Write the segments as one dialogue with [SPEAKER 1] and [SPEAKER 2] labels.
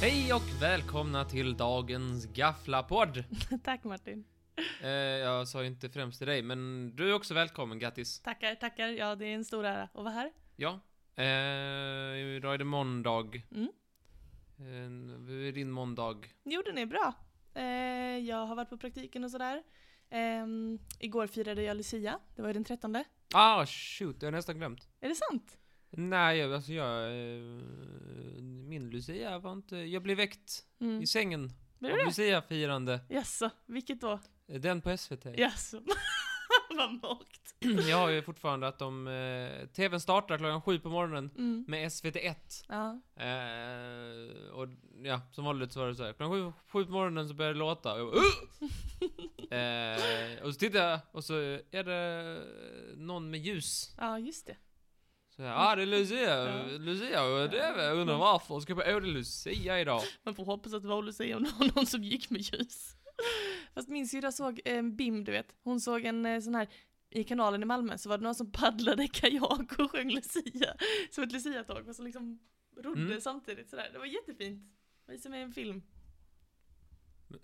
[SPEAKER 1] Hej och välkomna till dagens Gafflapodd!
[SPEAKER 2] Tack Martin.
[SPEAKER 1] Eh, jag sa ju inte främst till dig, men du är också välkommen Gattis.
[SPEAKER 2] Tackar, tackar. Ja, det är en stor ära att vara här.
[SPEAKER 1] Ja. Eh, idag är det måndag.
[SPEAKER 2] Mm.
[SPEAKER 1] Eh, hur är din måndag?
[SPEAKER 2] Jo, den är bra. Eh, jag har varit på praktiken och sådär. Ehm, igår firade jag Lucia. Det var ju den 13.
[SPEAKER 1] Ah, shoot, jag har nästan glömt.
[SPEAKER 2] Är det sant?
[SPEAKER 1] Nej, jag, alltså jag... Eh, min Lucia var inte... Jag blev väckt
[SPEAKER 2] Mm.
[SPEAKER 1] i sängen
[SPEAKER 2] Blir
[SPEAKER 1] av
[SPEAKER 2] det?
[SPEAKER 1] Lucia-firande. Eh,
[SPEAKER 2] Jaså, vilket då?
[SPEAKER 1] Den på SVT.
[SPEAKER 2] Jaså. Vad mörkt.
[SPEAKER 1] Jag har ju fortfarande att de... Eh, TVn startar klockan sju på morgonen
[SPEAKER 2] Mm.
[SPEAKER 1] med SVT1.
[SPEAKER 2] Ja.
[SPEAKER 1] Eh, och ja, som vanligt så var det så här. Klockan sju, sju på morgonen så började det låta. Och, jag bara, "Ugh!" eh, och så tittade jag och så är det någon med ljus.
[SPEAKER 2] ja, just det.
[SPEAKER 1] Så jag, ah det är Lucia,
[SPEAKER 2] Ja.
[SPEAKER 1] Lucia och det är väl, jag undrar varför. Ska på Åh det är Lucia idag.
[SPEAKER 2] Man får hoppas att det var Lucia om det var någon som gick med ljus. Fast min syrra såg en BIM, du vet. Hon såg en eh, sån här i kanalen i Malmö så var det någon som paddlade kajak och sjöng Lucia. Som ett Lucia-tåg, men som liksom rodde
[SPEAKER 1] Mm.
[SPEAKER 2] samtidigt sådär. Det var jättefint. Det var som i en film.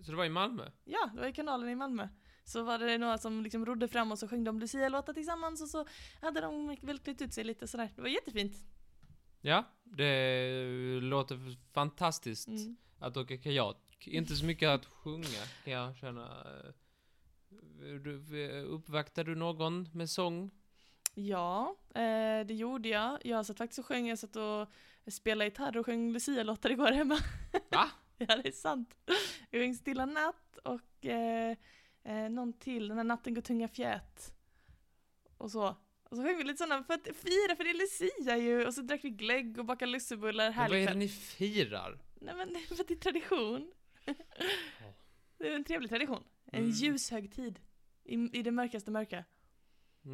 [SPEAKER 1] Så det var i Malmö.
[SPEAKER 2] Ja, det var i kanalen i Malmö. Så var det några som liksom rodde fram och så sjöng de Lucia-låtar tillsammans och så hade de väl klätt ut sig lite sådär. Det var jättefint.
[SPEAKER 1] Ja, det låter fantastiskt
[SPEAKER 2] Mm.
[SPEAKER 1] att åka kajak. Inte så mycket att sjunga kan jag känna. Eh, Du- Uppvaktade du någon med sång?
[SPEAKER 2] Ja, eh, det gjorde jag. Jag satt faktiskt och sjöng, jag satt och spelade gitarr och sjöng Lucia-låtar igår hemma.
[SPEAKER 1] Va?
[SPEAKER 2] ja, det är sant. Jag sjöng Stilla natt och eh, eh, någon till, den här Natten går tunga fjät. Och så. Och så sjöng vi lite sådana för att fira, för det är Lucia ju! Och så drack vi glögg och bakade lussebullar,
[SPEAKER 1] Men Vad
[SPEAKER 2] härlig
[SPEAKER 1] är det
[SPEAKER 2] kväll.
[SPEAKER 1] ni firar?
[SPEAKER 2] Nej men för att det är tradition. det är en trevlig tradition. En
[SPEAKER 1] Mm.
[SPEAKER 2] ljus högtid. I, I det mörkaste mörka.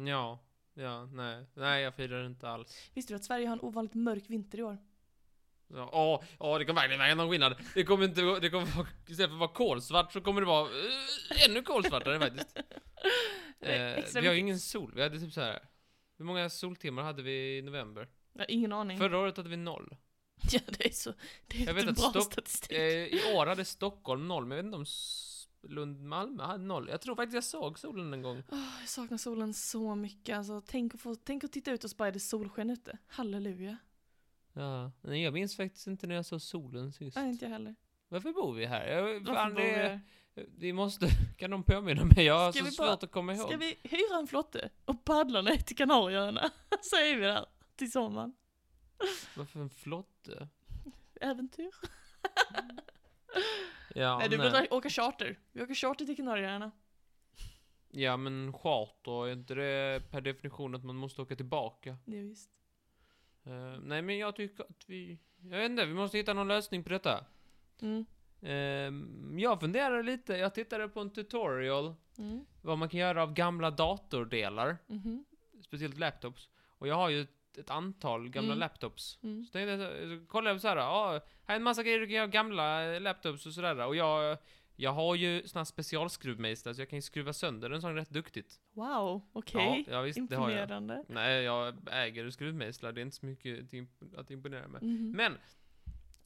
[SPEAKER 1] Ja, ja, nej, nej jag firar inte alls.
[SPEAKER 2] Visste du att Sverige har en ovanligt mörk vinter i år?
[SPEAKER 1] Ja, åh, åh, det kommer verkligen vara någon skillnad. Det kommer inte, det kommer vara, istället för att vara kolsvart så kommer det vara eh, ännu kolsvartare faktiskt.
[SPEAKER 2] Det är
[SPEAKER 1] Eh,
[SPEAKER 2] extra
[SPEAKER 1] vi har ju
[SPEAKER 2] mycket-
[SPEAKER 1] ingen sol, vi hade typ så här. Hur många soltimmar hade vi i november?
[SPEAKER 2] Jag har ingen aning.
[SPEAKER 1] Förra året hade vi noll.
[SPEAKER 2] Ja, det är så. Det är
[SPEAKER 1] Jag
[SPEAKER 2] jag
[SPEAKER 1] vet
[SPEAKER 2] inte
[SPEAKER 1] att
[SPEAKER 2] bra
[SPEAKER 1] Stock-
[SPEAKER 2] statistik.
[SPEAKER 1] Eh, I år hade Stockholm noll, men jag vet inte om S- Lund, Malmö hade noll. Jag tror faktiskt jag såg solen en gång.
[SPEAKER 2] Åh, jag saknar solen så mycket. Alltså, tänk, att få, tänk att titta ut och så bara är det solsken ute. Halleluja.
[SPEAKER 1] Ja, nej, jag minns faktiskt inte när jag såg solen sist.
[SPEAKER 2] Nej, inte jag heller.
[SPEAKER 1] Varför bor vi här? Jag,
[SPEAKER 2] Varför
[SPEAKER 1] fan,
[SPEAKER 2] bor vi
[SPEAKER 1] det,
[SPEAKER 2] här?
[SPEAKER 1] Vi måste, kan de påminna mig? Jag har
[SPEAKER 2] Ska
[SPEAKER 1] så
[SPEAKER 2] vi
[SPEAKER 1] svårt
[SPEAKER 2] bara-
[SPEAKER 1] att komma ihåg.
[SPEAKER 2] Ska vi hyra en flotte och paddla ner till Kanarieöarna? Så är vi där till sommaren.
[SPEAKER 1] Varför en flotte?
[SPEAKER 2] Äventyr.
[SPEAKER 1] Ja,
[SPEAKER 2] nej, du
[SPEAKER 1] nej.
[SPEAKER 2] borde åka charter. Vi åker charter till Kanarieöarna.
[SPEAKER 1] ja, men charter, är inte det per definition att man måste åka tillbaka?
[SPEAKER 2] Det är just.
[SPEAKER 1] Eh, nej, men jag tycker att vi... Jag vet inte, vi måste hitta någon lösning på detta.
[SPEAKER 2] Mm.
[SPEAKER 1] Ehm, jag funderade lite, jag tittade på en tutorial
[SPEAKER 2] Mm.
[SPEAKER 1] vad man kan göra av gamla datordelar,
[SPEAKER 2] Mhm.
[SPEAKER 1] speciellt laptops. Och jag har ju ett, ett antal gamla
[SPEAKER 2] Mm.
[SPEAKER 1] laptops.
[SPEAKER 2] Mm.
[SPEAKER 1] Så tänkte jag, så kollade jag på såhär, ja, här är en massa grejer du kan göra, gamla eh, laptops och sådär. Och jag, jag har ju sån här specialskruvmejsel, så jag kan ju skruva sönder en sån rätt duktigt.
[SPEAKER 2] Wow, okej.
[SPEAKER 1] Ja, ja visst, det har jag.
[SPEAKER 2] Imponerande.
[SPEAKER 1] Nej, jag äger skruvmejslar, det är inte så mycket att imp- att imponera med.
[SPEAKER 2] Mhm.
[SPEAKER 1] Men,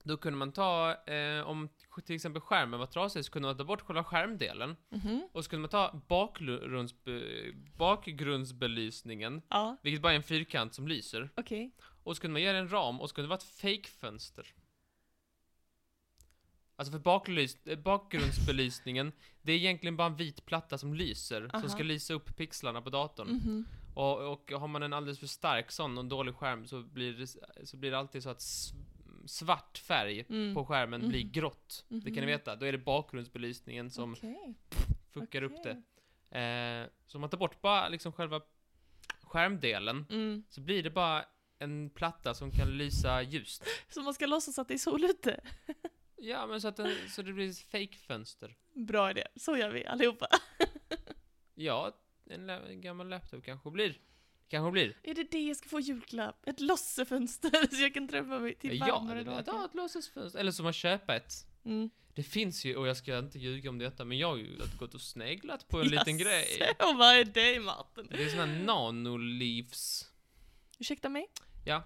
[SPEAKER 1] då kunde man ta, eh, om till exempel skärmen var trasig, så kunde man ta bort själva skärmdelen.
[SPEAKER 2] Mhm.
[SPEAKER 1] Och så kunde man ta bakgrunds, bakgrundsbelysningen,
[SPEAKER 2] Ja,
[SPEAKER 1] vilket bara är en fyrkant som lyser.
[SPEAKER 2] okej.
[SPEAKER 1] Och så kunde man göra en ram och så kunde det vara ett fake-fönster. Alltså för baklys- eh, bakgrundsbelysningen, det är egentligen bara en vit platta som lyser,
[SPEAKER 2] Aha.
[SPEAKER 1] som ska lysa upp pixlarna på datorn.
[SPEAKER 2] Mhm.
[SPEAKER 1] Och, och har man en alldeles för stark sån och en dålig skärm så blir det, så blir det alltid så att s- svart färg
[SPEAKER 2] Mm.
[SPEAKER 1] på skärmen blir
[SPEAKER 2] Mhm.
[SPEAKER 1] grått. Det kan ni
[SPEAKER 2] Mhm.
[SPEAKER 1] veta, då är det bakgrundsbelysningen som
[SPEAKER 2] Okej.
[SPEAKER 1] fuckar upp
[SPEAKER 2] Okej.
[SPEAKER 1] det. Eh, så om man tar bort bara liksom själva skärmdelen
[SPEAKER 2] Mm.
[SPEAKER 1] så blir det bara en platta som kan lysa ljust.
[SPEAKER 2] Så man ska låtsas att det är sol ute?
[SPEAKER 1] Ja, men så att den, så det blir ett fake-fönster.
[SPEAKER 2] Bra idé, så gör vi allihopa.
[SPEAKER 1] Ja, en, lä- en gammal laptop kanske blir. Kanske blir.
[SPEAKER 2] Är det det jag ska få i julklapp? Ett lossefönster så jag kan träffa mig till
[SPEAKER 1] ja,
[SPEAKER 2] farmor
[SPEAKER 1] det-
[SPEAKER 2] idag.
[SPEAKER 1] ja, ett låtsasfönster. Eller så man köper ett.
[SPEAKER 2] Mm.
[SPEAKER 1] Det finns ju, och jag ska inte ljuga om detta, men jag har ju gått och sneglat på en liten grej.
[SPEAKER 2] Jaså, vad är det Martin?
[SPEAKER 1] Det är såna här nanolivs.
[SPEAKER 2] Ursäkta mig?
[SPEAKER 1] Ja.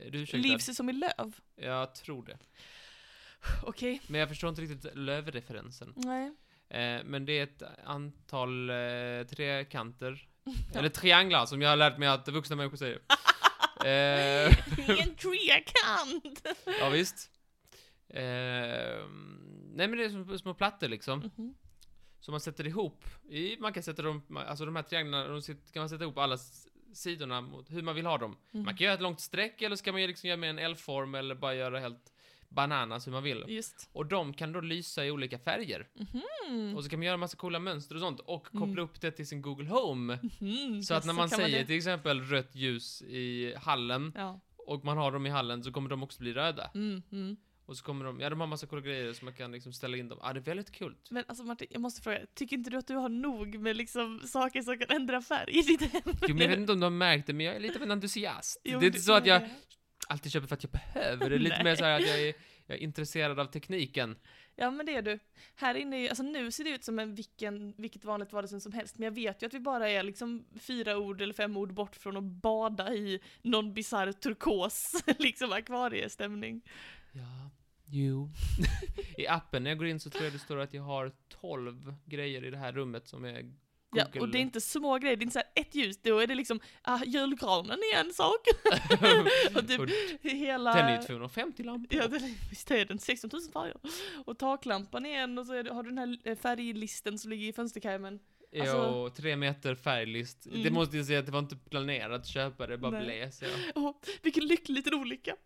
[SPEAKER 1] Eh, Du ursäktar.
[SPEAKER 2] Livs som i löv?
[SPEAKER 1] Jag tror det.
[SPEAKER 2] Okej.
[SPEAKER 1] Men jag förstår inte riktigt lövreferensen.
[SPEAKER 2] Nej.
[SPEAKER 1] Eh, men det är ett antal eh, trekanter, eller trianglar som jag har lärt mig att vuxna människor säger. eh,
[SPEAKER 2] Det är en trekant!
[SPEAKER 1] ja visst. Eh, nej men det är som små plattor liksom.
[SPEAKER 2] Mhm.
[SPEAKER 1] som man sätter ihop. I, man kan sätta dem, alltså de här trianglarna, de sit- kan man sätta ihop alla s- sidorna mot hur man vill ha dem.
[SPEAKER 2] Mhm.
[SPEAKER 1] Man kan göra ett långt streck eller ska man ju liksom göra med en L-form eller bara göra helt bananas hur man vill.
[SPEAKER 2] Just.
[SPEAKER 1] Och de kan då lysa i olika färger.
[SPEAKER 2] Mm.
[SPEAKER 1] Och så kan man göra massa coola mönster och sånt och koppla
[SPEAKER 2] Mm.
[SPEAKER 1] upp det till sin Google Home.
[SPEAKER 2] Mhm.
[SPEAKER 1] Så att när man
[SPEAKER 2] kan
[SPEAKER 1] säger
[SPEAKER 2] det.
[SPEAKER 1] till exempel rött ljus i hallen
[SPEAKER 2] Ja.
[SPEAKER 1] och man har dem i hallen så kommer de också bli röda.
[SPEAKER 2] Mm, mm.
[SPEAKER 1] Och så kommer de, ja de har massa coola grejer som man kan liksom ställa in dem. Ja, det är väldigt kul.
[SPEAKER 2] Men alltså Martin, jag måste fråga, tycker inte du att du har nog med liksom saker som kan ändra färg i ditt hem?
[SPEAKER 1] Jo, men jag vet inte om du har märkt det, men jag är lite av en entusiast.
[SPEAKER 2] Jo,
[SPEAKER 1] det är inte så att jag
[SPEAKER 2] nej.
[SPEAKER 1] alltid köper för att jag behöver det. är Lite mer så här att jag är, jag är intresserad av tekniken.
[SPEAKER 2] Ja men det är du. Här inne, är- alltså nu ser det ut som en vilken, vilket vanligt vardagsrum som helst, men jag vet ju att vi bara är liksom fyra ord eller fem ord bort från att bada i någon bisarr turkos, liksom akvariestämning.
[SPEAKER 1] Ja, jo. I appen när jag går in så tror jag det står att jag har 12 grejer i det här rummet som är Google.
[SPEAKER 2] Ja, och det är inte små grejer, det är inte så här ett ljus, då är det liksom, ah, julgranen är en sak. och typ
[SPEAKER 1] Och
[SPEAKER 2] hela...
[SPEAKER 1] Den är ju 250 lampor.
[SPEAKER 2] Ja, den, är- visst är den 16 000 färger. Och taklampan är en och så är det, har du den här eh, färglisten som ligger i fönsterkarmen. alltså-
[SPEAKER 1] och tre meter färglist. Det
[SPEAKER 2] Mm.
[SPEAKER 1] måste jag säga att det var inte planerat att köpa det, bara
[SPEAKER 2] Nej.
[SPEAKER 1] blev så.
[SPEAKER 2] Åh, vilken lycklig liten olycka.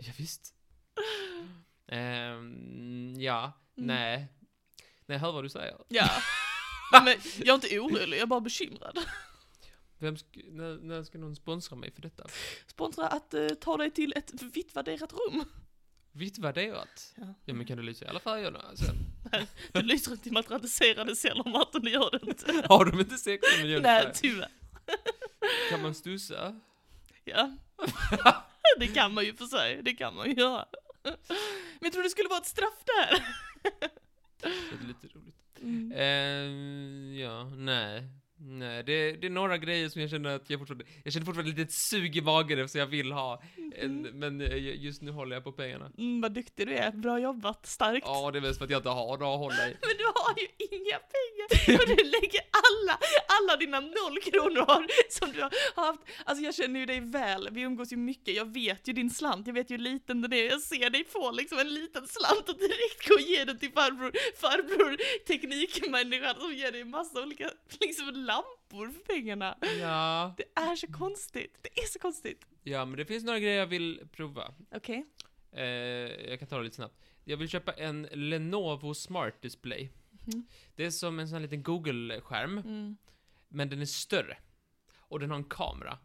[SPEAKER 1] Ja, visst. Ehm, ja,
[SPEAKER 2] Mm.
[SPEAKER 1] nej. Nej, hör vad du säger.
[SPEAKER 2] Ja. Nej, men jag är inte orolig, jag är bara bekymrad.
[SPEAKER 1] Vem sk- när, när ska någon sponsra mig för detta?
[SPEAKER 2] Sponsra att eh, ta dig till ett vitt värderat rum.
[SPEAKER 1] Vitt värderat.
[SPEAKER 2] Ja.
[SPEAKER 1] Ja men kan du lysa i alla färgerna sen?
[SPEAKER 2] Du lyser inte i matratisserade celler Martin, det gör du inte.
[SPEAKER 1] Har de inte 16 miljoner
[SPEAKER 2] Nej,
[SPEAKER 1] färger?
[SPEAKER 2] tyvärr.
[SPEAKER 1] Kan man stussa?
[SPEAKER 2] Ja. Det kan man ju för sig, det kan man ju göra. Men jag tror det skulle vara ett straff där.
[SPEAKER 1] Det är lite roligt.
[SPEAKER 2] Mm.
[SPEAKER 1] Ehm, ja, nej. Nej, det, det är några grejer som jag känner att jag fortfarande, jag känner fortfarande lite ett sug i magen eftersom jag vill ha. En, men eh, just nu håller jag på pengarna.
[SPEAKER 2] Mm, vad duktig du är, bra jobbat, starkt.
[SPEAKER 1] Ja, det är mest för att jag inte har några att hålla i.
[SPEAKER 2] Men du har ju inga pengar! Och du lägger alla, alla dina noll kronor har, som du har haft. Alltså jag känner ju dig väl, vi umgås ju mycket, jag vet ju din slant, jag vet ju hur liten den är, jag ser dig få liksom en liten slant och direkt gå och ge den till farbror, farbror teknikmänniskan som ger dig massa olika liksom lampor för pengarna.
[SPEAKER 1] Ja,
[SPEAKER 2] Det är så konstigt, det är så konstigt.
[SPEAKER 1] ja, men det finns några grejer jag vill prova.
[SPEAKER 2] Okej.
[SPEAKER 1] Eh, jag kan ta det lite snabbt. Jag vill köpa en Lenovo Smart Display.
[SPEAKER 2] Mhm.
[SPEAKER 1] Det är som en sån här liten Google-skärm,
[SPEAKER 2] Mm.
[SPEAKER 1] men den är större. Och den har en kamera.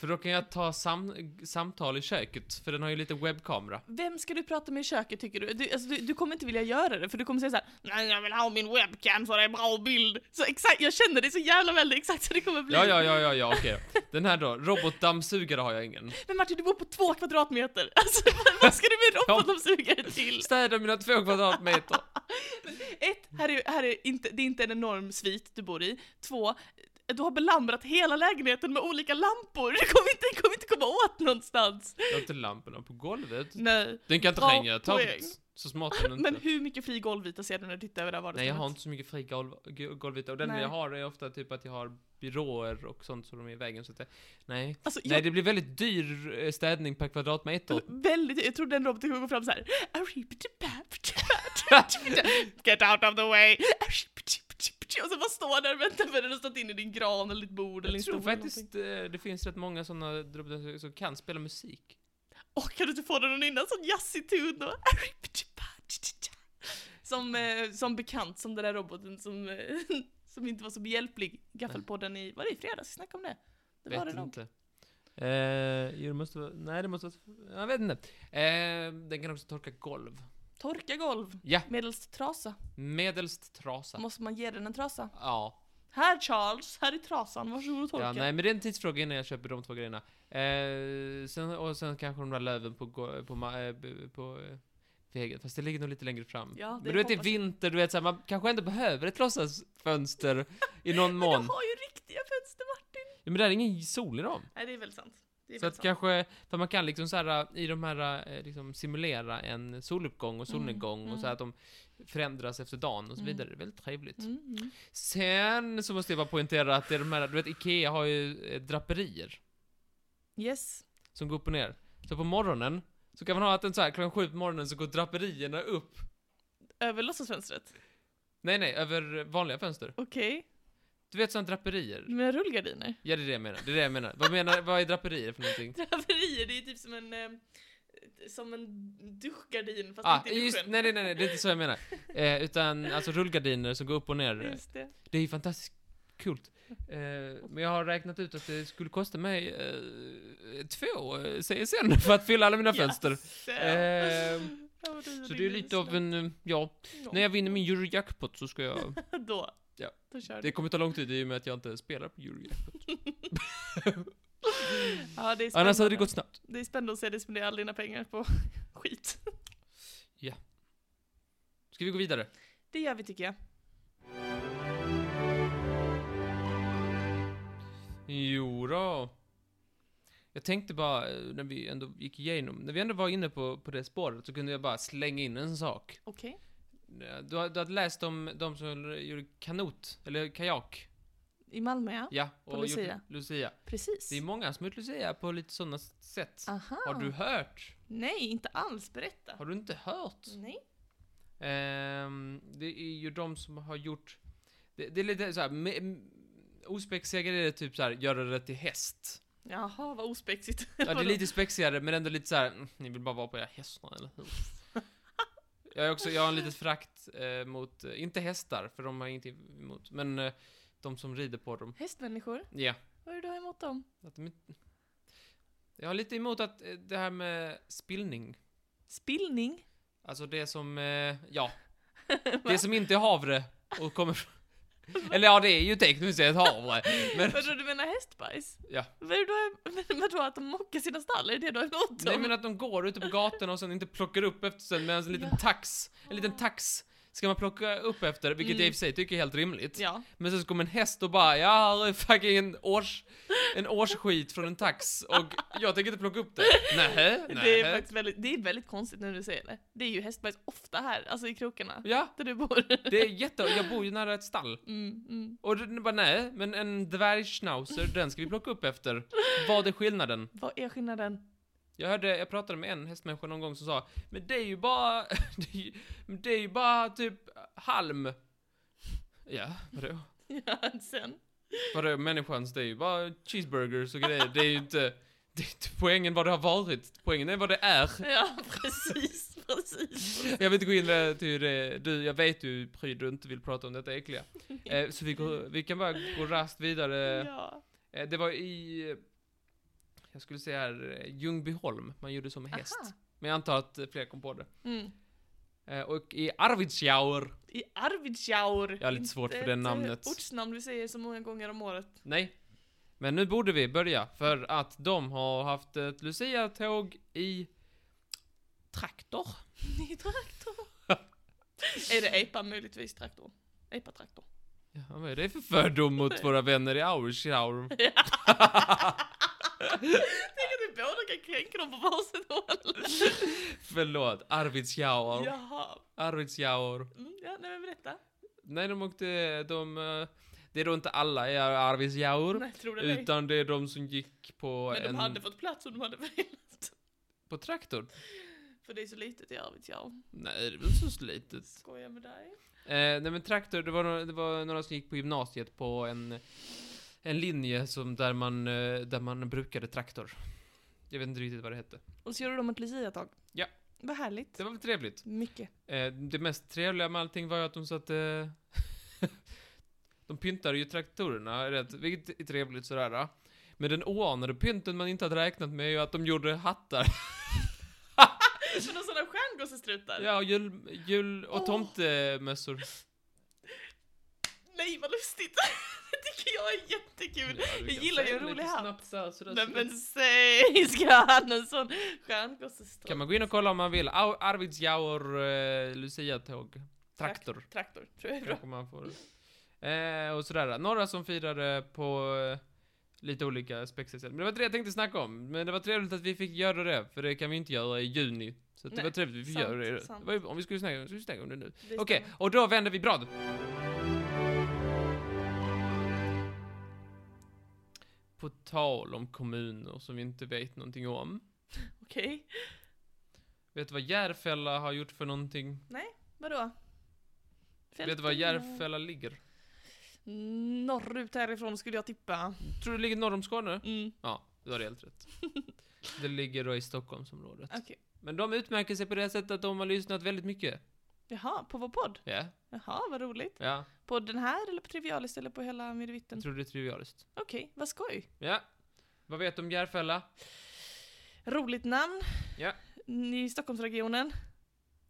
[SPEAKER 1] För då kan jag ta sam- samtal i köket, för den har ju lite webbkamera.
[SPEAKER 2] Vem ska du prata med i köket tycker du? Du, alltså, du? du kommer inte vilja göra det för du kommer säga så här: Nej jag vill ha min webcam så det är bra bild. Så exakt, jag känner det så jävla väl, det är exakt så det kommer bli.
[SPEAKER 1] Ja, ja, ja, ja, ja, okej. Den här då, robotdammsugare har jag ingen.
[SPEAKER 2] Men Martin du bor på två kvadratmeter. Alltså vad- vad ska du med robotdammsugare till?
[SPEAKER 1] Städa mina två kvadratmeter.
[SPEAKER 2] Ett, här är, här är inte, det är inte en enorm svit du bor i. Två, du har belamrat hela lägenheten med olika lampor. Du kommer inte, kommer inte komma åt någonstans.
[SPEAKER 1] Jag har inte lamporna på golvet.
[SPEAKER 2] Nej.
[SPEAKER 1] Den kan inte
[SPEAKER 2] Bra
[SPEAKER 1] hänga
[SPEAKER 2] poäng.
[SPEAKER 1] tomt. Så smart är den
[SPEAKER 2] Men
[SPEAKER 1] inte.
[SPEAKER 2] hur mycket fri golvyta ser du när du tittar över det
[SPEAKER 1] Nej,
[SPEAKER 2] här vardagsrummet?
[SPEAKER 1] jag har inte så mycket fri golv, g- golvyta. Och den
[SPEAKER 2] Nej.
[SPEAKER 1] jag har är ofta typ att jag har byråer och sånt som de är i vägen. Så att det, nej.
[SPEAKER 2] Alltså, jag
[SPEAKER 1] Nej, det blir väldigt dyr eh, städning per kvadratmeter.
[SPEAKER 2] Väldigt, jag tror den roboten kommer gå fram såhär Get out of the way Och så bara stå där och vänta för den har stått in i din gran eller ditt bord eller
[SPEAKER 1] Jag
[SPEAKER 2] din
[SPEAKER 1] tror
[SPEAKER 2] stol eller
[SPEAKER 1] faktiskt eh, det finns rätt många sådana droppar som kan spela musik.
[SPEAKER 2] Och kan du inte få den att nynna en sån jazzig ton då? Som, eh, som bekant, som den där roboten som, eh, som inte var så behjälplig Gaffelpodden i, var det i fredags? Vi snackade om det? Det var det
[SPEAKER 1] vet
[SPEAKER 2] nog.
[SPEAKER 1] inte. Eh, jo, det måste vara, nej det måste vara, jag vet inte. Eh, den kan också torka golv.
[SPEAKER 2] Torka golv
[SPEAKER 1] Ja,
[SPEAKER 2] medelst trasa.
[SPEAKER 1] medelst trasa.
[SPEAKER 2] Måste man ge den en trasa?
[SPEAKER 1] Ja,
[SPEAKER 2] Här Charles, här är trasan, varsågod och torka.
[SPEAKER 1] ja, nej men det är en tidsfråga innan jag köper de två grejerna. Eh, sen, och sen kanske de där löven på, gå- på, ma- eh, b- på eh, vägen, fast det ligger nog lite längre fram.
[SPEAKER 2] Ja, det
[SPEAKER 1] men du vet det är
[SPEAKER 2] hoppas jag.
[SPEAKER 1] vinter, du vet såhär, man kanske ändå behöver ett låtsasfönster i någon mån.
[SPEAKER 2] Men du har ju riktiga fönster Martin!
[SPEAKER 1] Ja, men det är ingen sol i dem.
[SPEAKER 2] Nej det är väl sant. Det är
[SPEAKER 1] Så
[SPEAKER 2] väl
[SPEAKER 1] att
[SPEAKER 2] sant.
[SPEAKER 1] kanske, för man kan liksom så här, i de här, eh, liksom simulera en soluppgång och solnedgång
[SPEAKER 2] Mm,
[SPEAKER 1] och så här att de förändras efter dagen och så
[SPEAKER 2] Mm.
[SPEAKER 1] vidare. Det är väldigt trevligt.
[SPEAKER 2] Mm, mm.
[SPEAKER 1] Sen så måste jag bara poängtera att det är de här, du vet IKEA har ju eh, draperier
[SPEAKER 2] Yes.
[SPEAKER 1] som går upp och ner. Så på morgonen, så kan man ha att den så här klockan sju på morgonen så går draperierna upp.
[SPEAKER 2] Över låtsasfönstret.
[SPEAKER 1] Nej, nej, över vanliga fönster.
[SPEAKER 2] Okej.
[SPEAKER 1] Du vet sådana draperier.
[SPEAKER 2] Med rullgardiner.
[SPEAKER 1] Ja, det är det jag menar. Det är det jag menar. Vad menar, vad är draperier för någonting?
[SPEAKER 2] Draperier, det är ju typ som en... Eh, som en duschgardin fast
[SPEAKER 1] Ah,
[SPEAKER 2] inte i
[SPEAKER 1] just,
[SPEAKER 2] duschen.
[SPEAKER 1] nej, nej, nej, nej, det är inte så jag menar. Eh, utan alltså rullgardiner som går upp och ner.
[SPEAKER 2] Just det.
[SPEAKER 1] Det är ju fantastiskt kul. Eh, men jag har räknat ut att det skulle kosta mig eh, två eh, CSN för att fylla alla mina fönster.
[SPEAKER 2] Jaså.
[SPEAKER 1] Ehm,
[SPEAKER 2] Ja, vad du
[SPEAKER 1] Så det är lite av en, eh, ja,
[SPEAKER 2] Ja.
[SPEAKER 1] när jag vinner min Eurojackpot så ska jag,
[SPEAKER 2] Då.
[SPEAKER 1] Ja.
[SPEAKER 2] Då kör
[SPEAKER 1] det
[SPEAKER 2] du.
[SPEAKER 1] kommer ta lång tid i och med att jag inte spelar på Eurojackpot.
[SPEAKER 2] Ja, det är spännande.
[SPEAKER 1] Annars hade det gått snabbt.
[SPEAKER 2] Det är spännande att se dig spendera alla dina pengar på skit.
[SPEAKER 1] Ska vi gå vidare?
[SPEAKER 2] Det gör vi tycker jag.
[SPEAKER 1] Jo då. Jag tänkte bara, eh, när vi ändå gick igenom, när vi ändå var inne på, på det spåret så kunde jag bara slänga in en sak.
[SPEAKER 2] Okej.
[SPEAKER 1] Eh, Du, har- du hade läst om de som gjorde kanot, eller kajak.
[SPEAKER 2] I Malmö ja.
[SPEAKER 1] Ja,
[SPEAKER 2] På
[SPEAKER 1] gjort
[SPEAKER 2] Lucia.
[SPEAKER 1] Lucia.
[SPEAKER 2] Precis.
[SPEAKER 1] Det är många som har gjort Lucia på lite sådana sätt.
[SPEAKER 2] Aha.
[SPEAKER 1] Har du hört?
[SPEAKER 2] Nej, inte alls. Berätta.
[SPEAKER 1] Har du inte hört?
[SPEAKER 2] Nej.
[SPEAKER 1] Ehm, det är ju de som har gjort... Det, det är lite såhär... me- m- Ospexigare är det typ såhär, göra det till häst.
[SPEAKER 2] Jaha, vad ospexigt.
[SPEAKER 1] Ja, det är lite spexigare men ändå lite såhär, mm, ni vill bara vara på era hästar, eller hur? Jag, är också, jag har en litet frakt eh, mot, eh, inte hästar, för de har ingenting emot, men eh, de som rider på dem.
[SPEAKER 2] Hästmänniskor,
[SPEAKER 1] Ja.
[SPEAKER 2] vad är det du har emot dem?
[SPEAKER 1] Att de inte... Jag har lite emot att eh, det här med spillning,
[SPEAKER 2] Spillning?
[SPEAKER 1] alltså det som, eh, ja,
[SPEAKER 2] Va?
[SPEAKER 1] det som inte är havre och kommer från... Eller ja, det är ju tekniskt sett havre, men...
[SPEAKER 2] Vadå, du menar hästbajs?
[SPEAKER 1] Ja.
[SPEAKER 2] Vad är det du har, men vadå, att de mockar sina stall? Är det det du har emot
[SPEAKER 1] Nej
[SPEAKER 2] dem?
[SPEAKER 1] men att de går ute på gatorna och sen inte plockar upp efter sig med en sån liten
[SPEAKER 2] Ja.
[SPEAKER 1] tax. En liten tax ska man plocka upp efter, vilket jag i och för sig tycker är helt rimligt.
[SPEAKER 2] Mm. Ja.
[SPEAKER 1] Men sen så kommer en häst och bara ja, här är fucking en års... En årsskit från en tax och jag tänker inte plocka upp det. Nähä,
[SPEAKER 2] Det är
[SPEAKER 1] nähä.
[SPEAKER 2] faktiskt väldigt, det är väldigt konstigt när du säger det. Det är ju hästbajs ofta här, alltså i krokarna.
[SPEAKER 1] Ja,
[SPEAKER 2] Där du bor.
[SPEAKER 1] det är jätte... Jag bor ju nära ett stall.
[SPEAKER 2] Mm, mm.
[SPEAKER 1] Och den bara nej, men en dvärgschnauzer, den ska vi plocka upp efter. Vad är skillnaden?
[SPEAKER 2] Vad är skillnaden?
[SPEAKER 1] Jag hörde, jag pratade med en hästmänniska någon gång som sa Men det är ju bara, det är ju, men det är ju bara typ halm. Ja, vadå?
[SPEAKER 2] Ja, sen.
[SPEAKER 1] Vadå människans, det är ju bara cheeseburgers och grejer. Det är ju inte, det är inte poängen vad det har varit. Poängen är vad det är.
[SPEAKER 2] Ja, precis, precis.
[SPEAKER 1] Jag vill inte gå in eh, till hur det, du, jag vet ju hur pryd du inte vill prata om detta äckliga. Eh, så vi, går, vi kan bara gå rast vidare.
[SPEAKER 2] Ja.
[SPEAKER 1] Eh, Det var i, eh, jag skulle säga här, eh, Ljungbyholm man gjorde som häst.
[SPEAKER 2] Aha.
[SPEAKER 1] Men jag antar att eh, fler kom på det.
[SPEAKER 2] Mm.
[SPEAKER 1] Eh, Och i Arvidsjaur,
[SPEAKER 2] I Arvidsjaur.
[SPEAKER 1] jag har lite svårt
[SPEAKER 2] Det är
[SPEAKER 1] för det
[SPEAKER 2] ett, eh,
[SPEAKER 1] namnet.
[SPEAKER 2] Ortsnamn vi säger så många gånger om året.
[SPEAKER 1] Nej. Men nu borde vi börja, för att de har haft ett Lucia-tåg i traktor.
[SPEAKER 2] I traktor. är det epa möjligtvis traktor? Epa-traktor.
[SPEAKER 1] Ja, vad är det för fördom mot våra vänner i Auersjaur?
[SPEAKER 2] Tänk att vi båda kan kränka dem på varsitt håll.
[SPEAKER 1] Förlåt, Arvidsjaur.
[SPEAKER 2] Jaha.
[SPEAKER 1] Arvidsjaur.
[SPEAKER 2] Mm, ja, nej men berätta.
[SPEAKER 1] Nej, de åkte, de... eh, Det är då inte alla i Arvidsjaur.
[SPEAKER 2] Nej, tror det eller ej.
[SPEAKER 1] Utan det är de som gick på
[SPEAKER 2] Men de
[SPEAKER 1] en...
[SPEAKER 2] hade fått plats om de hade velat.
[SPEAKER 1] På traktorn?
[SPEAKER 2] För det är så litet i Arvidsjaur.
[SPEAKER 1] Nej, det var så slitet.
[SPEAKER 2] Skojar med dig.
[SPEAKER 1] Eh, nej men traktor, det var, några- det var några som gick på gymnasiet på en, en linje som där man, eh, där man brukade traktor. Jag vet inte riktigt vad det hette.
[SPEAKER 2] Och så gjorde de ett luciatag.
[SPEAKER 1] Ja.
[SPEAKER 2] Vad härligt.
[SPEAKER 1] Det var väl trevligt.
[SPEAKER 2] Mycket.
[SPEAKER 1] Eh, det mest trevliga med allting var ju att de satte... de pyntade ju traktorerna, rätt, vilket är trevligt sådär. Men den oanade pynten man inte hade räknat med är ju att de gjorde hattar.
[SPEAKER 2] Som någon sån där stjärngossestrutar.
[SPEAKER 1] Ja, och jul, jul och
[SPEAKER 2] Åh.
[SPEAKER 1] tomtemössor.
[SPEAKER 2] Nej vad lustigt. det tycker jag är
[SPEAKER 1] Ja,
[SPEAKER 2] jättekul.
[SPEAKER 1] du kan
[SPEAKER 2] jag gillar ju
[SPEAKER 1] säga
[SPEAKER 2] en
[SPEAKER 1] lite
[SPEAKER 2] rolig hatt.
[SPEAKER 1] snabbt där, sådär,
[SPEAKER 2] Nej
[SPEAKER 1] så-
[SPEAKER 2] men säg, ska han en sån stjärngossestrutt?
[SPEAKER 1] Kan man gå in och kolla om man vill. Au- Arvidsjaur eh, Lucia-tåg. Traktor.
[SPEAKER 2] Traktor, tror jag är bra.
[SPEAKER 1] Kanske man får. Eh, och sådär. Några som firade på eh, lite olika spexexcel. Men det var inte det jag tänkte snacka om. Men det var trevligt att vi fick göra det, för det kan vi inte göra i juni. Så att det
[SPEAKER 2] Nej,
[SPEAKER 1] var trevligt att vi fick
[SPEAKER 2] sant,
[SPEAKER 1] göra det. det
[SPEAKER 2] sant.
[SPEAKER 1] var, ju- om vi skulle snacka, skulle vi snacka om det nu.
[SPEAKER 2] Det
[SPEAKER 1] Okej,
[SPEAKER 2] stämmer.
[SPEAKER 1] och då vänder vi blad. På tal om kommuner som vi inte vet någonting om.
[SPEAKER 2] Okej.
[SPEAKER 1] Vet du vad Järfälla har gjort för någonting?
[SPEAKER 2] Vadå?
[SPEAKER 1] Vet du var
[SPEAKER 2] Fälten,
[SPEAKER 1] Järfälla ligger?
[SPEAKER 2] eh, Norrut härifrån skulle jag tippa.
[SPEAKER 1] Tror du det ligger norr om Skåne?
[SPEAKER 2] Mm.
[SPEAKER 1] Ja, du har helt rätt. Det ligger då i Stockholmsområdet.
[SPEAKER 2] Okej.
[SPEAKER 1] Men de utmärker sig på det sättet att de har lyssnat väldigt mycket.
[SPEAKER 2] Jaha, på vår podd?
[SPEAKER 1] Ja,
[SPEAKER 2] Jaha, vad roligt.
[SPEAKER 1] ja.
[SPEAKER 2] På den här eller på Trivialist eller på hela
[SPEAKER 1] Jag
[SPEAKER 2] Midvitten?
[SPEAKER 1] tror det är trivialiskt.
[SPEAKER 2] Okej, vad skoj.
[SPEAKER 1] Ja. Vad vet du om Järfälla?
[SPEAKER 2] Roligt namn.
[SPEAKER 1] Ja.
[SPEAKER 2] Ni i Stockholmsregionen.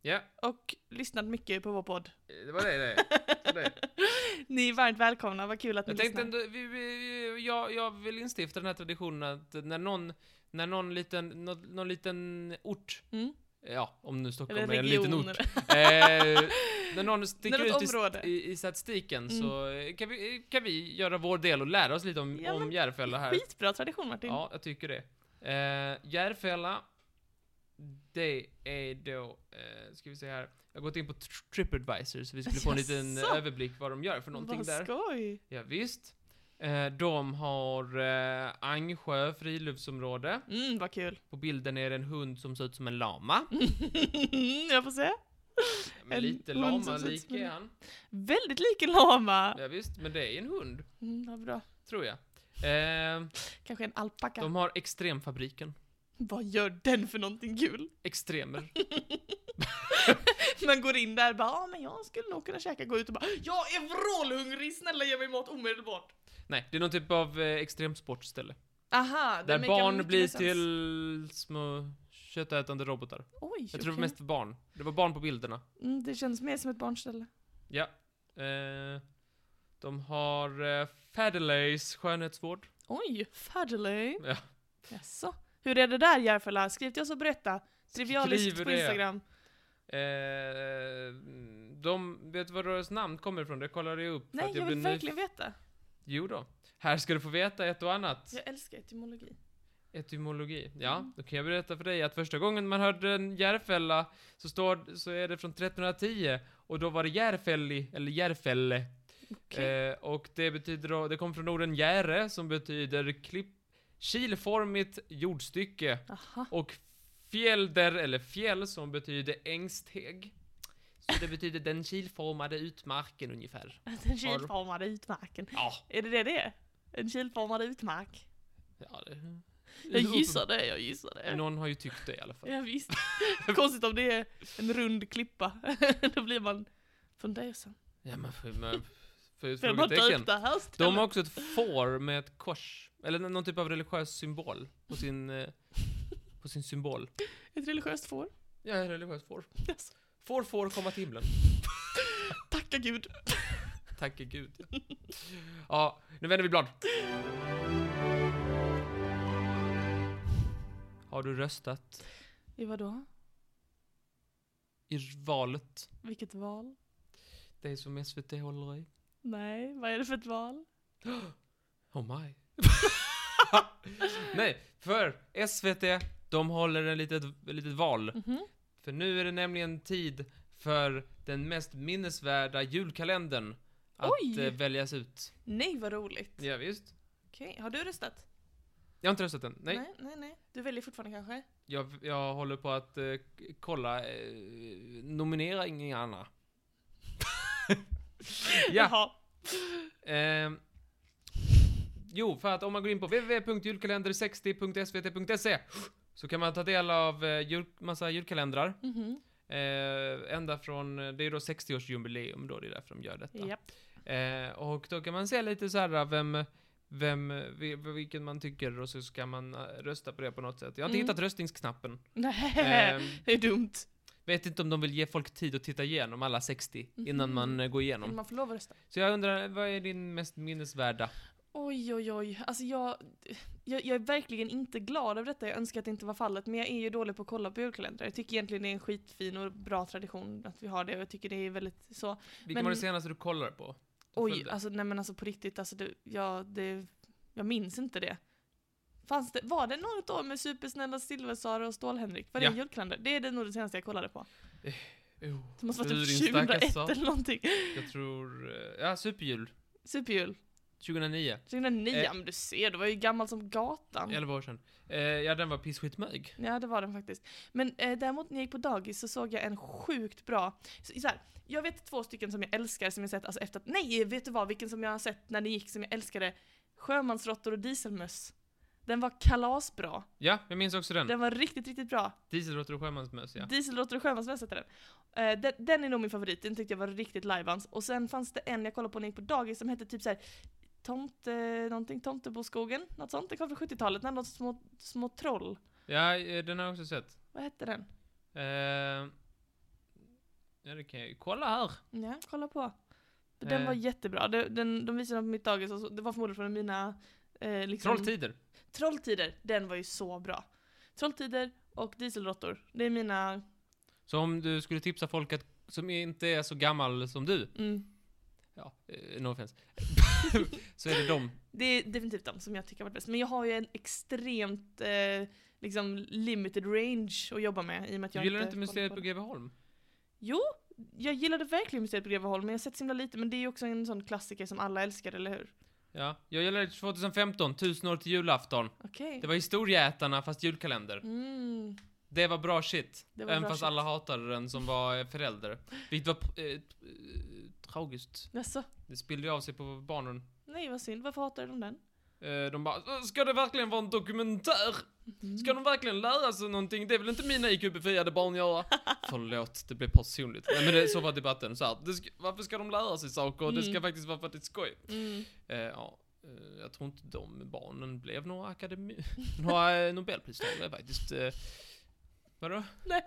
[SPEAKER 1] Ja,
[SPEAKER 2] Och lyssnat mycket på vår podd.
[SPEAKER 1] det var det det. Det var det.
[SPEAKER 2] Ni är varmt välkomna, vad kul att ni
[SPEAKER 1] Jag tänkte
[SPEAKER 2] lyssnar.
[SPEAKER 1] ändå, vi, vi, jag, jag vill instifta den här traditionen att när någon, när någon liten, någon, någon liten ort,
[SPEAKER 2] Mm.
[SPEAKER 1] ja, om nu Stockholm
[SPEAKER 2] Eller
[SPEAKER 1] är en liten ort,
[SPEAKER 2] regioner.
[SPEAKER 1] eh, när någon sticker
[SPEAKER 2] När något
[SPEAKER 1] ut i,
[SPEAKER 2] område.
[SPEAKER 1] st- i, i statistiken
[SPEAKER 2] Mm.
[SPEAKER 1] så eh, kan vi, kan vi göra vår del och lära oss lite om,
[SPEAKER 2] Ja,
[SPEAKER 1] om
[SPEAKER 2] men
[SPEAKER 1] Järfälla här.
[SPEAKER 2] Skitbra tradition Martin.
[SPEAKER 1] Ja, jag tycker det. Eh, Järfälla, det är då, eh, ska vi se här, jag har gått in på Tr- Tripadvisor så vi skulle få en liten eh,
[SPEAKER 2] Jaså?
[SPEAKER 1] överblick vad de gör för någonting
[SPEAKER 2] vad
[SPEAKER 1] där.
[SPEAKER 2] skoj.
[SPEAKER 1] Ja, visst. Eh, de har eh, Angsjö friluftsområde.
[SPEAKER 2] Mm, vad kul.
[SPEAKER 1] På bilden är det en hund som ser ut som en lama.
[SPEAKER 2] Mm, jag får se.
[SPEAKER 1] Men
[SPEAKER 2] En
[SPEAKER 1] lite
[SPEAKER 2] hund som ser ut
[SPEAKER 1] lama-lik
[SPEAKER 2] som en-
[SPEAKER 1] är han.
[SPEAKER 2] Väldigt lik en lama.
[SPEAKER 1] Ja, visst, men det är en hund,
[SPEAKER 2] Mm, vad bra.
[SPEAKER 1] tror jag. Eh,
[SPEAKER 2] Kanske en alpaka.
[SPEAKER 1] de har Extremfabriken.
[SPEAKER 2] Vad gör den för någonting kul?
[SPEAKER 1] Extremer.
[SPEAKER 2] Man går in där och bara, ja men jag skulle nog kunna käka, gå ut och bara, jag är vrålhungrig, snälla ge mig mat omedelbart.
[SPEAKER 1] Nej, det är någon typ av eh, extremsportställe.
[SPEAKER 2] Aha, det
[SPEAKER 1] Där
[SPEAKER 2] maker
[SPEAKER 1] barn
[SPEAKER 2] mycket
[SPEAKER 1] blir
[SPEAKER 2] mer sens.
[SPEAKER 1] till små köttätande robotar.
[SPEAKER 2] Oj,
[SPEAKER 1] Jag tror det var
[SPEAKER 2] okej.
[SPEAKER 1] mest för barn. Det var barn på bilderna.
[SPEAKER 2] mm, det känns mer som ett barnställe.
[SPEAKER 1] Ja. Eh, de har eh, Fadelays skönhetsvård.
[SPEAKER 2] Oj, Fadelay.
[SPEAKER 1] Ja.
[SPEAKER 2] Jaså? Hur är det där Järfälla? Skriv till oss och berätta. Trivialiskt
[SPEAKER 1] Skriv
[SPEAKER 2] på
[SPEAKER 1] det.
[SPEAKER 2] Instagram.
[SPEAKER 1] Eh, de, vet du var deras namn kommer ifrån? Det kollade jag upp. för
[SPEAKER 2] Nej,
[SPEAKER 1] att
[SPEAKER 2] jag vill
[SPEAKER 1] blev nyf-
[SPEAKER 2] verkligen veta.
[SPEAKER 1] Jo då. Här ska du få veta ett och annat.
[SPEAKER 2] Jag älskar etymologi.
[SPEAKER 1] Etymologi.
[SPEAKER 2] Mm.
[SPEAKER 1] Ja, då kan jag berätta för dig att första gången man hörde en Järfälla så, står, så är det från 1310 och då var det Järfälli, eller Järfälle.
[SPEAKER 2] Okej.
[SPEAKER 1] Eh, och det betyder då, det kommer från orden järe som betyder klipp, kilformigt jordstycke.
[SPEAKER 2] Aha.
[SPEAKER 1] Och fjälder, eller fjäll, som betyder ängsteg. Så det betyder den kilformade utmarken ungefär.
[SPEAKER 2] Den kilformade utmarken.
[SPEAKER 1] Ja,
[SPEAKER 2] Är det det det är? En kilformad utmark?
[SPEAKER 1] ja det...
[SPEAKER 2] Jag gissar det, jag gissar det.
[SPEAKER 1] Någon har ju tyckt det i alla fall.
[SPEAKER 2] Ja, visst. Konstigt om det är en rund klippa. Då blir man fundersam.
[SPEAKER 1] Ja, men för, men, för ett
[SPEAKER 2] För man
[SPEAKER 1] frågetecken.
[SPEAKER 2] döpte här stället.
[SPEAKER 1] De har också ett får med ett kors, eller någon typ av religiös symbol på sin, eh, på sin symbol.
[SPEAKER 2] Ett religiöst får.
[SPEAKER 1] Ja, ett religiöst får.
[SPEAKER 2] Yes.
[SPEAKER 1] Får, får komma till himlen.
[SPEAKER 2] Tacka gud.
[SPEAKER 1] Tacke gud. Ja, nu vänder vi blad. Har du röstat
[SPEAKER 2] I vadå?
[SPEAKER 1] i valet?
[SPEAKER 2] Vilket val?
[SPEAKER 1] Det som SVT håller i?
[SPEAKER 2] Nej, vad är det för ett val?
[SPEAKER 1] Oh my. Nej, för SVT, de håller en litet, ett litet val.
[SPEAKER 2] Mhm.
[SPEAKER 1] För nu är det nämligen tid för den mest minnesvärda julkalendern att
[SPEAKER 2] Oj!
[SPEAKER 1] eh, väljas ut.
[SPEAKER 2] Nej, vad roligt.
[SPEAKER 1] Ja, visst.
[SPEAKER 2] Okej, har du röstat?
[SPEAKER 1] Jag har inte röstat än. Nej.
[SPEAKER 2] nej, nej, nej. Du väljer fortfarande kanske?
[SPEAKER 1] Jag, jag håller på att eh, k- kolla, eh, nominera Inga Ja.
[SPEAKER 2] Jaha.
[SPEAKER 1] ehm, jo, för att om man går in på www.julkalender60.svt.se E så kan man ta del av eh, jul, massa julkalendrar.
[SPEAKER 2] Mhm.
[SPEAKER 1] Eh, ända från, eh, det är då 60-årsjubileum då, det är därför de gör detta.
[SPEAKER 2] Japp.
[SPEAKER 1] Eh, och då kan man se lite så här vem, vem, vil- vilken man tycker och så ska man eh, rösta på det på något sätt. Jag har inte
[SPEAKER 2] Mm.
[SPEAKER 1] hittat röstningsknappen.
[SPEAKER 2] Nej,
[SPEAKER 1] Ehm,
[SPEAKER 2] det är dumt.
[SPEAKER 1] Vet inte om de vill ge folk tid att titta igenom alla 60 innan
[SPEAKER 2] Mhm.
[SPEAKER 1] man eh, går
[SPEAKER 2] Vill
[SPEAKER 1] igenom.
[SPEAKER 2] man få lov att rösta?
[SPEAKER 1] Så jag undrar, vad är din mest minnesvärda?
[SPEAKER 2] Oj, oj, oj. Alltså jag, jag, jag är verkligen inte glad över detta. Jag önskar att det inte var fallet. Men jag är ju dålig på att kolla på julkalendrar. Jag tycker egentligen det är en skitfin och bra tradition att vi har det. Och jag tycker det är väldigt så.
[SPEAKER 1] Vilken
[SPEAKER 2] Men-
[SPEAKER 1] var det senaste du kollade på? Du
[SPEAKER 2] Oj,
[SPEAKER 1] följde?
[SPEAKER 2] alltså nej men alltså på riktigt. Alltså det, ja, det, Jag minns inte det. Fanns det, var det något år med Supersnälla Silversara och Stål-Henrik? Var
[SPEAKER 1] Ja.
[SPEAKER 2] det en julkalender? Det är det nog det senaste jag kollade på.
[SPEAKER 1] Oh,
[SPEAKER 2] Det måste vara
[SPEAKER 1] Lurin
[SPEAKER 2] typ
[SPEAKER 1] stackars
[SPEAKER 2] 2001
[SPEAKER 1] sak.
[SPEAKER 2] eller någonting.
[SPEAKER 1] Jag tror... eh, Ja, Superjul.
[SPEAKER 2] Superjul.
[SPEAKER 1] 2009.
[SPEAKER 2] 2009,
[SPEAKER 1] Eh.
[SPEAKER 2] men du ser, det var ju gammal som gatan.
[SPEAKER 1] 11 år sedan. Eh, ja, den var pissskitmög.
[SPEAKER 2] Ja, det var den faktiskt. Men eh, däremot när jag gick på dagis så såg jag en sjukt bra... Så, så här, jag vet två stycken som jag älskar som jag sett alltså efter att... Nej, vet du vad? Vilken som jag har sett när det gick som jag älskade? Sjömansråttor och dieselmöss. Den var kalasbra.
[SPEAKER 1] Ja, jag minns också den.
[SPEAKER 2] Den var riktigt, riktigt bra.
[SPEAKER 1] Dieselråttor och sjömansmöss, ja.
[SPEAKER 2] Dieselråttor och sjömansmöss hette den. Eh, den. Den är nog min favorit, den tyckte jag var riktigt lajvans. Och sen fanns det en jag kollade på när jag gick på dagis som hette typ så här. Tomte, någonting, Tomteboskogen, något sånt. Det kom från 70-talet, när något små, små troll.
[SPEAKER 1] Ja, eh, den har jag också sett.
[SPEAKER 2] Vad hette den?
[SPEAKER 1] Eh, ja, det kan jag ju. Kolla här!
[SPEAKER 2] Ja, kolla på. Den
[SPEAKER 1] Eh.
[SPEAKER 2] var jättebra. Den, den, de visade den på mitt dagis, och så, det var förmodligen från mina... Eh, liksom,
[SPEAKER 1] Trolltider.
[SPEAKER 2] Trolltider, den var ju så bra. Trolltider och Dieselråttor, det är mina...
[SPEAKER 1] Så om du skulle tipsa folk att, som inte är så gammal som du,
[SPEAKER 2] Mm,
[SPEAKER 1] ja, eh, no offense, så är det dem.
[SPEAKER 2] det är definitivt de som jag tycker har varit bäst. Men jag har ju en extremt eh, liksom limited range att jobba med i och med att
[SPEAKER 1] Du
[SPEAKER 2] jag
[SPEAKER 1] gillar inte
[SPEAKER 2] kollar
[SPEAKER 1] museet
[SPEAKER 2] på
[SPEAKER 1] på
[SPEAKER 2] det.
[SPEAKER 1] Greveholm?
[SPEAKER 2] Jo, jag gillade verkligen Museet på Greveholm, men jag har sett så himla lite. Men det är ju också en sån klassiker som alla älskar, eller hur?
[SPEAKER 1] Ja, jag gillar 2015, 1000 år till julafton.
[SPEAKER 2] Okej.
[SPEAKER 1] Det var Historieätarna fast julkalender.
[SPEAKER 2] Mm.
[SPEAKER 1] Det var bra shit.
[SPEAKER 2] Det var
[SPEAKER 1] Även
[SPEAKER 2] bra
[SPEAKER 1] fast
[SPEAKER 2] shit.
[SPEAKER 1] alla hatade den som var eh, förälder. Vilket var eh, t- eh, tragiskt.
[SPEAKER 2] Jaså?
[SPEAKER 1] Det spillde ju av sig på barnen.
[SPEAKER 2] Nej, vad synd. Varför hatar de den?
[SPEAKER 1] Eh, de bara, ska det verkligen vara en dokumentär? Ska de verkligen lära sig någonting? Det vill inte mina IQ-befriade barn göra. Förlåt, det blev personligt. Nej men det, så var debatten. Så här, det ska, varför ska de lära sig saker? Det ska
[SPEAKER 2] Mm.
[SPEAKER 1] faktiskt vara för att det är skoj.
[SPEAKER 2] Mm.
[SPEAKER 1] Eh, ja, eh, jag tror inte de barnen blev några akademi... några eh, nobelpristagare faktiskt. Eh, vadå?
[SPEAKER 2] Nej.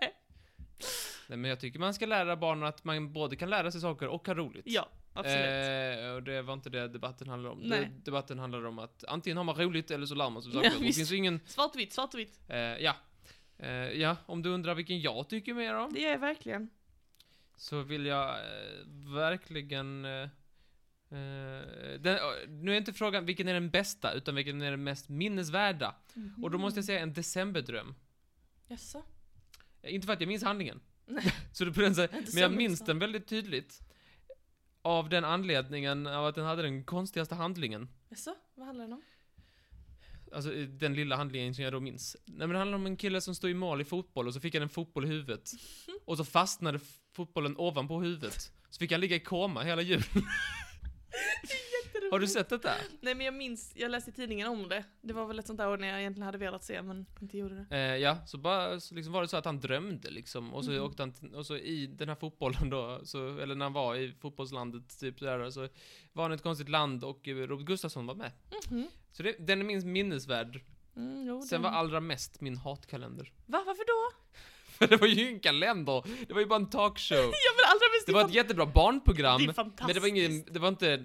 [SPEAKER 1] Nej men jag tycker man ska lära barnen att man både kan lära sig saker och ha roligt.
[SPEAKER 2] Ja, absolut.
[SPEAKER 1] Eh, och det var inte det debatten handlade om.
[SPEAKER 2] Nej.
[SPEAKER 1] Det, debatten handlade om att antingen har man roligt eller så lär man sig
[SPEAKER 2] Ja,
[SPEAKER 1] saker. det
[SPEAKER 2] visst.
[SPEAKER 1] finns ju ingen...
[SPEAKER 2] Svartvitt, svartvitt.
[SPEAKER 1] Eh, ja. Eh, ja, om du undrar vilken jag tycker mer om,
[SPEAKER 2] Det gör jag verkligen.
[SPEAKER 1] så vill jag eh, verkligen... Eh, eh, den, eh, nu är inte frågan vilken är den bästa, utan vilken är den mest minnesvärda. Och då måste jag säga en decemberdröm.
[SPEAKER 2] Mm. Jaså?
[SPEAKER 1] Eh, Inte för att jag minns handlingen.
[SPEAKER 2] Nej.
[SPEAKER 1] så det på den sätt, men jag
[SPEAKER 2] Decemberdröm.
[SPEAKER 1] minns den väldigt tydligt. Av den anledningen av att den hade den konstigaste handlingen.
[SPEAKER 2] Jaså? Vad handlar den om?
[SPEAKER 1] Alltså eh, den lilla handlingen som jag då minns. Nej men det handlar om en kille som stod i mål i fotboll och så fick han en fotboll i huvudet. Och så fastnade f- fotbollen ovanpå huvudet. Så fick han ligga i koma hela julen. Har du sett detta?
[SPEAKER 2] Nej men jag minns, jag läste i tidningen om det. Det var väl ett sånt där år när jag egentligen hade velat se men inte gjorde det.
[SPEAKER 1] Eh, ja, så bara så liksom var det så att han drömde liksom. Och så
[SPEAKER 2] Mhm.
[SPEAKER 1] åkte han, t- och så i den här fotbollen då, så, eller när han var i fotbollslandet typ där, så var han i ett konstigt land och eh, Robert Gustafsson var med.
[SPEAKER 2] Mhm.
[SPEAKER 1] Så det, den är minst minnesvärd.
[SPEAKER 2] Mm, jo,
[SPEAKER 1] Sen
[SPEAKER 2] den-
[SPEAKER 1] var allra mest min hatkalender.
[SPEAKER 2] Va, varför då?
[SPEAKER 1] För det var ju ingen kalender, det var ju bara en talkshow.
[SPEAKER 2] Ja men allra mest
[SPEAKER 1] Det var ett jättebra barnprogram,
[SPEAKER 2] Det är fantastiskt.
[SPEAKER 1] men det var, ingen, det, var inte,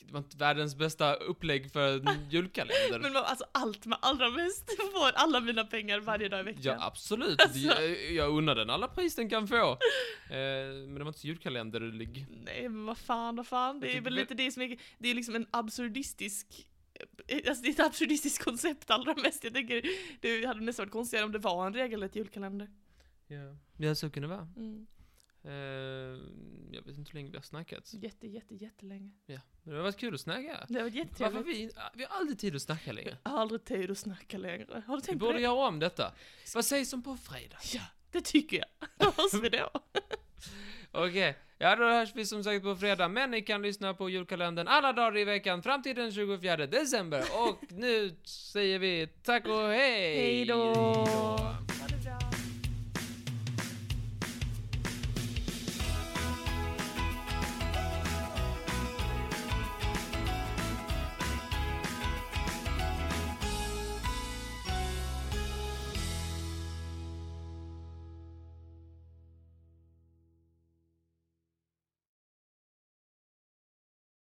[SPEAKER 1] det var inte världens bästa upplägg för en julkalender.
[SPEAKER 2] Men vad- alltså allt med allra mest får alla mina pengar varje dag i veckan.
[SPEAKER 1] Ja, absolut.
[SPEAKER 2] Alltså.
[SPEAKER 1] Jag, jag unnar den alla pris den kan få. Eh, men det var inte så julkalenderlig.
[SPEAKER 2] Nej men vad fan, vad fan.
[SPEAKER 1] Jag
[SPEAKER 2] Det är
[SPEAKER 1] tycker
[SPEAKER 2] väl
[SPEAKER 1] väl-
[SPEAKER 2] lite det som är, det är liksom en absurdistisk eh, Alltså det är ett absurdistiskt koncept allra mest. Jag tänker, det hade nästan varit konstigare om det var en regelrätt julkalender.
[SPEAKER 1] Ja. ja, så kunde det vara.
[SPEAKER 2] Mm.
[SPEAKER 1] Eh, jag vet inte hur länge vi har snackat.
[SPEAKER 2] Jätte, jätte, jättelänge.
[SPEAKER 1] Men det har varit kul att snacka.
[SPEAKER 2] Det har varit
[SPEAKER 1] Varför
[SPEAKER 2] jättetrevligt.
[SPEAKER 1] vi, vi har aldrig tid att snacka
[SPEAKER 2] Jag
[SPEAKER 1] längre.
[SPEAKER 2] har aldrig tid att snacka längre. Har du
[SPEAKER 1] Vi
[SPEAKER 2] tänkt på
[SPEAKER 1] borde
[SPEAKER 2] det?
[SPEAKER 1] göra om detta. Vad sägs om på fredag?
[SPEAKER 2] Ja, det tycker jag. Då hörs vi då.
[SPEAKER 1] Okej, ja då hörs vi som sagt på fredag, men ni kan lyssna på julkalendern alla dagar i veckan fram till den 24 december. Och nu säger vi tack och hej!
[SPEAKER 2] Hej då.
[SPEAKER 1] Hej då.